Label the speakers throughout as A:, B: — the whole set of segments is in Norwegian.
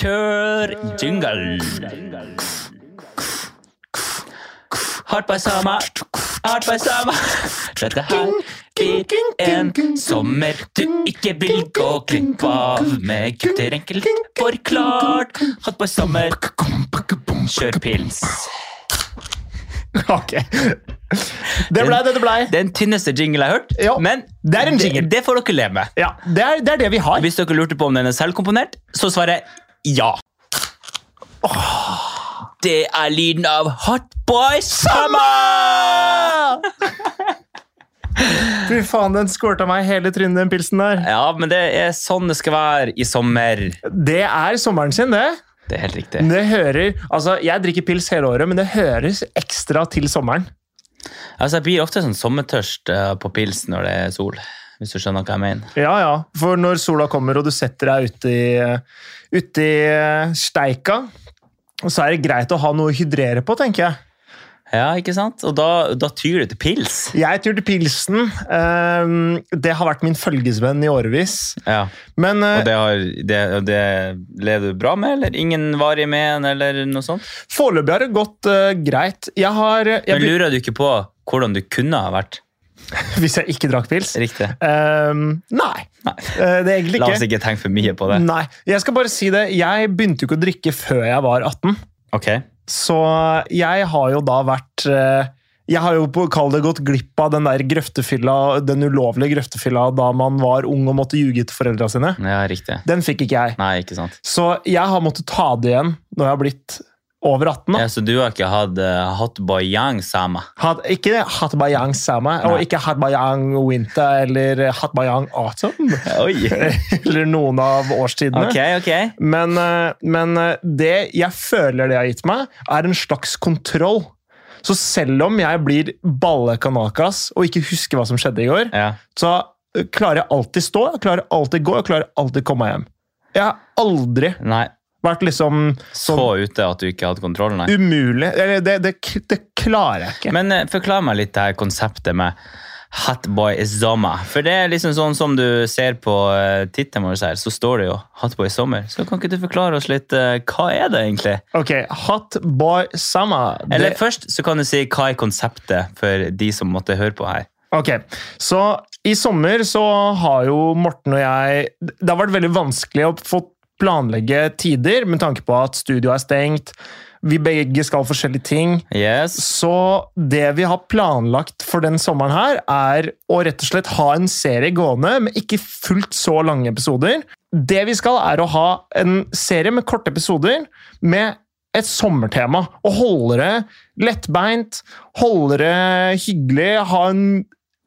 A: Kjør jingle. Hardt bersama, hardt bersama. Dette her blir en sommer du ikke vil gå glipp av. Med gutter enkelt forklart. Hardt bersama, kjør pils.
B: Ok. Det blei det det blei.
A: Den tynneste jingle jeg har hørt,
B: Ja.
A: men
B: Det er en jingle.
A: det, det får dere leve med.
B: Ja, det er, det er det vi har.
A: Hvis dere lurte på om den er selvkomponert, så svarer jeg ja. Det er lyden av Hot Boy Summer!
B: Fy faen, den squirta meg i hele trynet, den pilsen der.
A: Ja, men det er sånn det skal være i sommer.
B: Det er sommeren sin, det.
A: Det er helt riktig.
B: Men Det hører, altså, Jeg drikker pils hele året, men det høres ekstra til sommeren.
A: Altså, Jeg blir ofte sånn sommertørst eh, på pils når det er sol. Hvis du skjønner hva jeg mener.
B: Ja, ja. For når sola kommer, og du setter deg ute i, ute i eh, steika, så er det greit å ha noe å hydrere på, tenker jeg.
A: Ja, ikke sant? Og da, da tyr det til pils.
B: Jeg tror til pilsen. ehm, det har vært min følgesvenn i årevis.
A: Ja,
B: Men eh,
A: Og det, har, det, og det lever du bra med, eller ingen varig med en, eller noe sånt?
B: foreløpig har det gått eh, greit. Jeg har eh, jeg,
A: Men lurer du ikke på hvordan du kunne ha vært?
B: Hvis jeg ikke drakk pils?
A: Riktig.
B: Ehm, nei.
A: Nei.
B: Eh, det er egentlig
A: La oss
B: ikke. Mm.
A: ikke tenke for mye på det.
B: Nei. Jeg skal bare si det. Jeg begynte jo ikke å drikke før jeg var 18.
A: Ok.
B: Så jeg har jo da vært eh, Jeg har jo på kall det gått glipp av den der grøftefylla, den ulovlige grøftefylla da man var ung og måtte ljuge til foreldra sine.
A: Ja, riktig.
B: Den fikk ikke jeg.
A: Nei, ikke sant.
B: Så jeg har måttet ta det igjen når jeg har blitt over 18.
A: Ja,
B: Da.
A: så du har ikke hatt uh, hotboyang sama?
B: Had, ikke Hatbayang Sama, og
A: Nei.
B: ikke Hatbayang Winter eller Hatbayang Autumn.
A: Oi!
B: Eller noen av årstidene.
A: Ok, ok.
B: Men, eh, men eh, det jeg føler det har gitt meg, er en slags kontroll. Så selv om jeg blir balle kanakas og ikke husker hva som skjedde i går,
A: Ja.
B: så eh, klarer jeg alltid stå, jeg klarer alltid gå, jeg klarer alltid komme meg hjem. Jeg har aldri
A: Nei,
B: vært liksom
A: så ute at du ikke hadde kontroll, nei.
B: umulig Eller det, det, det klarer jeg ikke.
A: Men eh, forklar meg litt det her konseptet med Hotboy Summer. For det er liksom sånn som du ser på uh, tittelen vår her, så står det jo Hotboy Summer. Så kan ikke du forklare oss litt, eh, hva er det egentlig?
B: Ok, Hot boy summer. Det-
A: Eller først så kan du si hva er konseptet for de som måtte høre på her.
B: Ok, så i sommer så har jo Morten og jeg Det har vært veldig vanskelig å få planlegge tider med tanke på at studioet er stengt. Vi begge skal forskjellige ting.
A: Yes.
B: Så det vi har planlagt for den sommeren her, er å rett og slett ha en serie gående med ikke fullt så lange episoder. Det vi skal, er å ha en serie med korte episoder med et sommertema. Og holde det lettbeint, holde det hyggelig, ha en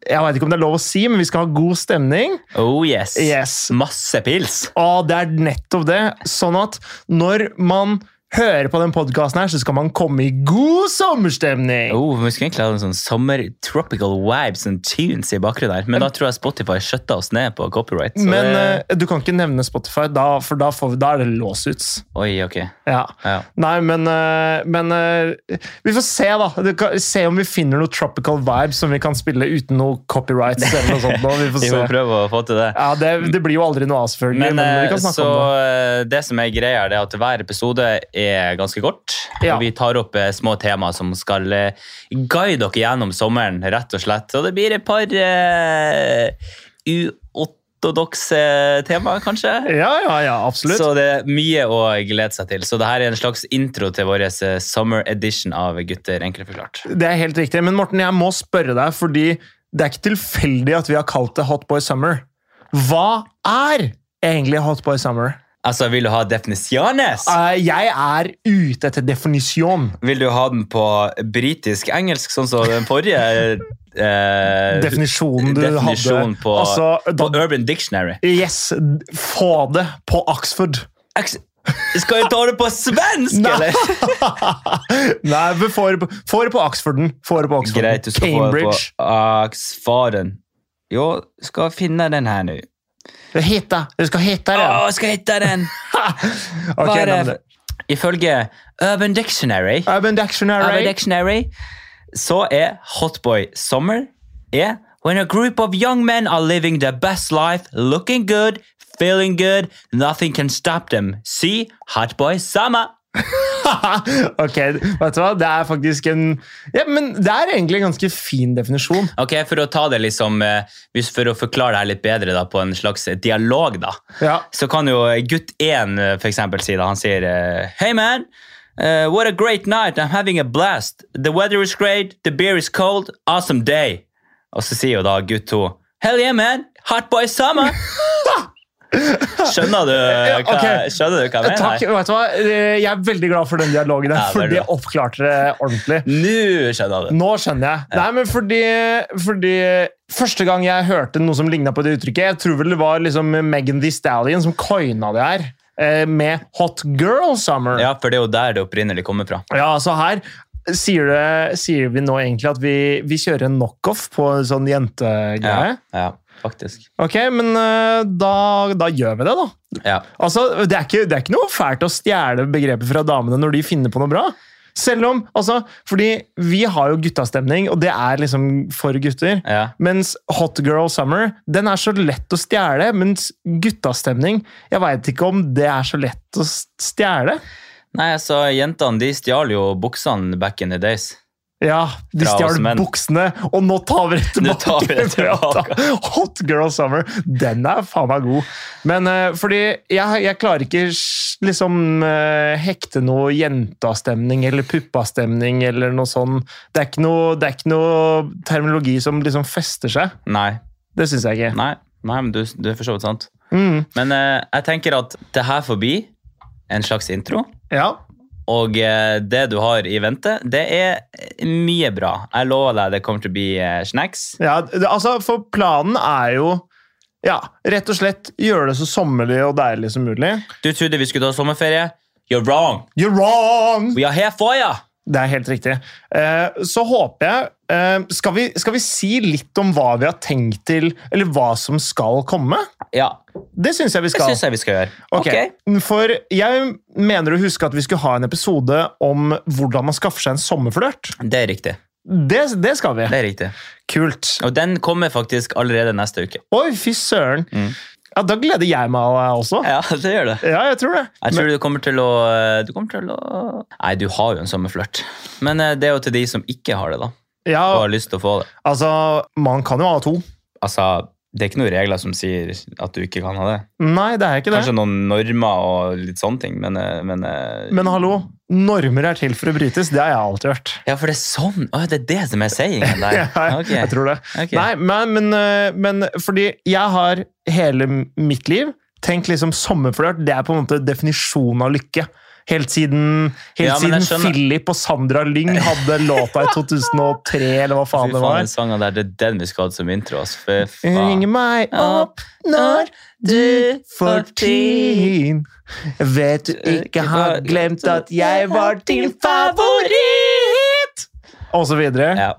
B: Jeg veit ikke om det er lov å si, men vi skal ha god stemning.
A: Oh yes.
B: Yes.
A: Masse pils.
B: Ah, det er nettopp det. Sånn at når man hører på den podkasten her, så skal man komme i god sommerstemning.
A: Oh, vi skulle egentlig hatt en sånn sommer tropical vibes and tunes i bakgrunnen her, men da tror jeg Spotify skjøtta oss ned på copyright. så
B: Men
A: det-
B: eh, du kan ikke nevne Spotify, da, for da, får vi, da er det låsuts.
A: Oi, ok.
B: Ja.
A: Ja.
B: Nei, men, eh, men eh, Vi får se, da. Du kan, se om vi finner noe tropical vibes som vi kan spille uten noe copyrights. eller noe sånt. nå. Vi får
A: Vi må
B: se.
A: prøve å få til det.
B: Ja, det, det blir jo aldri noe av, selvfølgelig.
A: Men,
B: Men, vi
A: eh,
B: kan snakke
A: så
B: om det.
A: eh, det som er greia, er det at hver episode er ganske kort.
B: Ja.
A: Og vi tar opp eh, små temaer som skal eh, guide dere gjennom sommeren, rett og slett. Og det blir et par eh, uortodokse temaer, kanskje.
B: Ja, ja, ja, absolutt.
A: Så det er mye å glede seg til. Så det her er en slags intro til vår eh, summer edition av Gutter enkelt forklart.
B: Det er helt riktig. Men Morten, jeg må spørre deg, fordi det er ikke tilfeldig at vi har kalt det Hot Boy Summer. Hva er egentlig Hot Boy Summer?
A: Altså, vil du ha definisjones?
B: Eh, jeg er ute etter definisjon.
A: Vil du ha den på britisk-engelsk, sånn som den forrige? Eh,
B: definisjonen du
A: definisjonen
B: hadde.
A: på,
B: altså,
A: på
B: da,
A: Urban Dictionary.
B: yes, d- få det på Oxford.
A: Ex- Skal jeg ta det på svensk,
B: Nei.
A: eller?
B: Nei, vi får det på, får det på Oxforden. Får det på Oxforden.
A: Greit, du skal få
B: Cambridge.
A: det på Axfaren. Jo, skal finne den her nå.
B: Det heter, det skal hete det.
A: Å, skal jeg hitte den!
B: Ok,
A: Hva er
B: nei, men
A: det?
B: det-
A: Ifølge Urban Dictionary
B: Urban Dictionary.
A: Urban Dictionary, så er Hotboy Summer er When a group of young men are living their best life, looking good, feeling good. Nothing can stop them. See? Hotboy Sama.
B: ok, vet du hva? Det er faktisk en Ja, men det er egentlig en ganske fin definisjon.
A: Ok, For å ta det liksom, eh, hvis- for å forklare det her litt bedre da, på en slags dialog, da,
B: Ja.
A: så kan jo gutt 1 for eksempel si da, han sier eh, Hey man, eh, what a great night. I'm having a blast. The weather is great. The beer is cold. Awesome day. Og så sier jo da gutt 2 Hell yeah, man. Hot boy summer. Skjønner du hva,
B: ok.
A: skjønner du hva jeg mener?
B: Takk, vet du hva? Eh, Jeg er veldig glad for den dialogen, der,
A: Ja,
B: for
A: veldig
B: det
A: bra.
B: oppklarte det ordentlig.
A: Nå skjønner jeg det.
B: Nå skjønner jeg. Nei, men fordi, fordi Første gang jeg hørte noe som ligna på det uttrykket, jeg tror vel det var liksom Megan Thee Stallion som coina det her, eh, med Hot Girl Summer.
A: Ja, for det er jo der det opprinnelig kommer fra.
B: Ja, altså her sier, det, sier vi nå egentlig at vi, vi kjører en knockoff på en sånn
A: Ja,
B: jentegreie.
A: ja faktisk.
B: Ok, men eh, da, da gjør vi det, da.
A: Ja.
B: Altså, det er, ikke, det er ikke noe fælt å stjele begrepet fra damene når de finner på noe bra. Selv om, altså, fordi vi har jo guttastemning, og det er liksom for gutter.
A: ja.
B: Mens Hot Girl Summer den er så lett å stjele. Mens guttastemning Jeg veit ikke om det er så lett å stjele.
A: Nei, altså, jentene de stjal jo buksene back in the days.
B: Ja, de
A: Fra oss
B: stjal
A: menn.
B: buksene, og nå tar vi det
A: Nå
B: tilbake!
A: tar vi det tilbake.
B: Ja, da. Hot Girl Summer. Den er faen meg god. Men eh, fordi jeg, jeg klarer ikke s- liksom eh, hekte noe jentastemning eller puppastemning eller noe sånn. Det er ikke noe, det er ikke noe terminologi som liksom fester seg.
A: Nei,
B: Det syns jeg ikke.
A: nei, nei men du, du er for så vidt sant.
B: Mm,
A: Men eh, jeg tenker at det her forbi en slags intro,
B: ja.
A: og eh, det du har i vente, det er mye bra. Jeg lover deg det kommer til å bli eh, snacks.
B: Ja, det, altså, for planen er jo ja, rett og slett gjøre det så sommerlig og deilig som mulig.
A: Du trodde vi skulle ta sommerferie. You're wrong!
B: You're wrong!
A: We are here for ya!
B: Det er helt riktig. Eh, så håper jeg eh, skal, vi, skal vi si litt om hva vi har tenkt til, eller hva som skal komme?
A: Ja,
B: Det syns jeg vi
A: det
B: skal.
A: syns jeg vi skal gjøre.
B: Ok. For jeg mener å huske at vi skulle ha en episode om hvordan man skaffer seg en sommerflørt.
A: Ok, Det er riktig.
B: Det, det skal vi.
A: Det er riktig.
B: Kult.
A: Og den kommer faktisk allerede neste uke.
B: Oi, fy søren.
A: Mm.
B: Ja, da gleder jeg meg også.
A: Ja, det gjør det.
B: Ja, jeg tror det.
A: Jeg tror du kommer til å eh, Du kommer til å Nei, du har jo en sommerflørt. Men eh, det er jo til de som ikke har det, da.
B: Men, ja,
A: Og har lyst til å få det.
B: altså, man kan jo ha to.
A: Altså, det er ikke noen regler som sier at du ikke kan ha det.
B: Nei, det er ikke det.
A: Kanskje noen normer og litt sånne ting, men, eh, men, eh,
B: Men hallo, normer er til for å brytes. Det har jeg alltid hørt.
A: Ja, for det er sånn! Å, det er det som er sayingen der.
B: Ja,
A: Ok,
B: Jeg tror det.
A: ok.
B: Nei, men, men, øh, men fordi jeg har hele m- mitt liv tenkt liksom sommerflørt, det er på en måte definisjonen av lykke. Helt siden, helt
A: Ja, men jeg
B: siden
A: skjønner.
B: Philip og Sandra Lyng hadde låta i 2003, eller hva
A: Fy
B: faen det
A: faen, den
B: var.
A: sangen der, det er den vi skal ha som intro. ass. Fy
B: Ring
A: faen.
B: meg opp når du får tid. Vet du
A: Eh,
B: ikke har glemt at jeg var din favoritt! Og så videre.
A: Ja.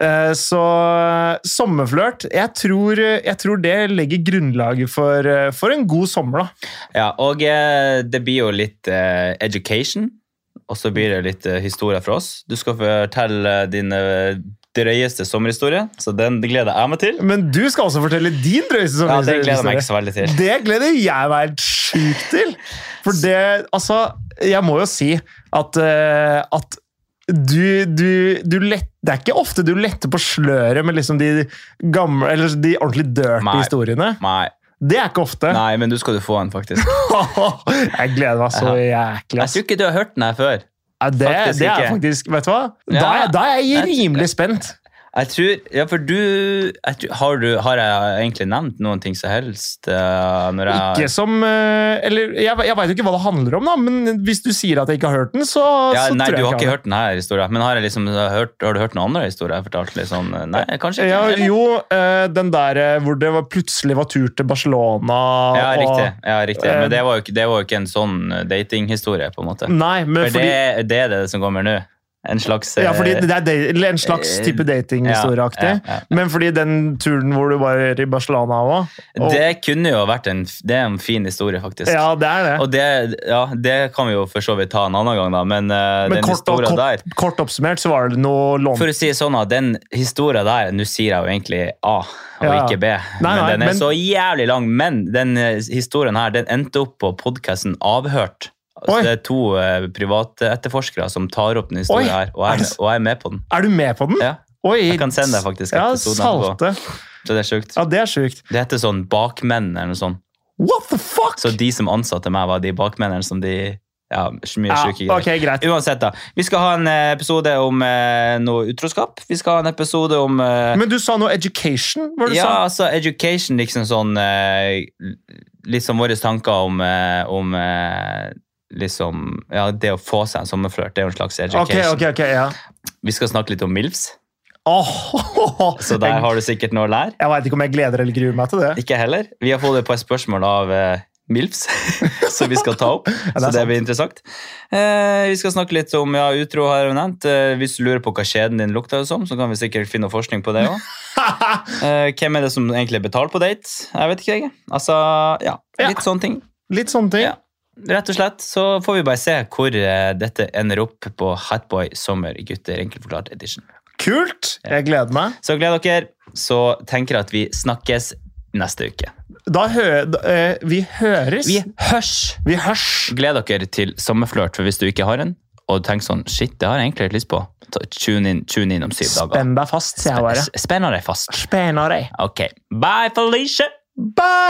B: Eh, Så eh, sommerflørt jeg tror, eh, jeg tror det legger grunnlaget for, eh, for en god sommer, da.
A: ja, og eh, det blir jo litt eh, education, og så blir det litt eh, historie fra oss. Du skal fortelle din eh, drøyeste sommerhistorie, så den gleder jeg meg til.
B: Men du skal også fortelle din drøyeste
A: Ja,
B: sommerhistorie.
A: Den gleder jeg meg ikke så veldig til.
B: Det gleder jeg meg helt sjukt til! For det Altså, jeg må jo si at, eh, at du, du, du lett, Det er ikke ofte du letter på sløret med liksom de gamle, eller de ordentlig dirty
A: Nei.
B: historiene.
A: Nei,
B: Det er ikke ofte.
A: nei, men du skal du få en, faktisk.
B: Jeg gleder meg så jæklig.
A: Jeg
B: ass.
A: tror ikke du har hørt den her før.
B: Ja, det,
A: Faktisk
B: det er
A: ikke.
B: faktisk Vet du hva? Da,
A: Ja.
B: er, da er jeg
A: Jeg-
B: rimelig spent.
A: Jeg tror, ja, for du, jeg tror, har du Har jeg egentlig nevnt noen ting som helst? eh, når jeg,
B: Ikke som eh, Eller jeg, jeg veit jo ikke hva det handler om, da, men hvis du sier at jeg ikke har hørt den, så,
A: ja,
B: så
A: nei, du
B: tror jeg
A: har
B: jeg
A: ikke hørt denne historien. Men har, jeg liksom hørt, har du hørt noen andre historier jeg fortalte? Litt sånn, eh, nei, kanskje ikke?
B: Ja,
A: eller?
B: jo, eh, den der eh, hvor det var, plutselig var tur til Barcelona
A: ja,
B: og-
A: riktig. ja, riktig.
B: eh,
A: Men det var, jo, ikke- det var jo ikke en sånn eh, datinghistorie, på en måte.
B: Nei, men
A: For
B: fordi
A: det, det er det som kommer nå. En slags
B: Ja, fordi
A: eh,
B: det er da- eller en slags type datinghistorieaktig.
A: ja, ja,
B: Men fordi den turen hvor du var i Barcelona òg og-
A: Det kunne jo vært en, det er en fin historie, faktisk.
B: Ja, det er det.
A: Og det, ja, det kan vi jo for så vidt ta en annen gang, da, men, eh,
B: Men
A: den
B: kort, og,
A: historien der
B: kort, kort oppsummert så var det noe lån...
A: For å si det sånn, at den historien der Nå sier jeg jo egentlig A og
B: Ja.
A: ikke B,
B: Nei, nei,
A: men den er
B: men-
A: så jævlig lang. Men den eh, historien her den endte opp på podkasten Avhørt. Så
B: Oi.
A: det er to eh, private etterforskere som tar opp den historien
B: Oi.
A: her, og jeg,
B: Er
A: er-
B: det-
A: og jeg er med på den.
B: Er du med på den?
A: Ja,
B: Oi,
A: jeg kan sende deg faktisk
B: ja,
A: episoden etterpå.
B: salte.
A: Så det er sjukt.
B: Ja, det er sjukt.
A: Det heter sånn Bakmenn eller noe sånt.
B: What the fuck?!
A: Så de som ansatte meg, var de bakmennene som de Ja, mye
B: ja,
A: sjuke greier.
B: ok, greit.
A: Uansett, da. Vi skal ha en eh, episode om eh, noe utroskap. Vi skal ha en episode om eh,
B: Men du sa noe education? Var det du
A: Ja,
B: sa?
A: altså education, liksom sånn eh, Liksom våre tanker om, eh, om eh, liksom Ja, det å få seg en sommerflørt, det er jo en slags
B: Ok,
A: education.
B: ok, ok, ja.
A: Vi skal snakke litt om MILFs,
B: Åh,
A: så der har du sikkert noe å lære.
B: Jeg veit ikke om jeg gleder eller gruer meg til det.
A: Ikke jeg heller. Vi har fått et par spørsmål av eh, MILFs, som vi skal ta opp.
B: er
A: så det
B: sant.
A: blir interessant. Eh, vi skal snakke litt om ja, utro, har jeg jo nevnt. Eh, hvis du lurer på hva skjeden din lukter som, så kan vi sikkert finne noe forskning på det òg. Eh, hvem er det som egentlig betaler på date? Jeg vet ikke, jeg. Altså, ja,
B: Ja.
A: litt sånne ting.
B: Litt sånne ting.
A: Ja. Rett og slett så får vi bare se hvor eh, dette ender opp på Hatboy Sommer gutter enkelt forklart edition.
B: Kult! Jeg gleder meg.
A: Så gled dere, så tenker jeg at vi snakkes neste uke.
B: Da hø... da, eh, vi høres.
A: Vi hørs!
B: Vi hørs.
A: Gled dere til sommerflørt, for hvis du ikke har en, og du tenker sånn Shit, det har jeg egentlig litt lyst på. Ta, tune, inn, tune inn om syv dager.
B: Spenn deg fast, sier jeg bare.
A: Spenn deg fast.
B: Spenner deg.
A: Ok. Bye, Felicia!
B: Bye!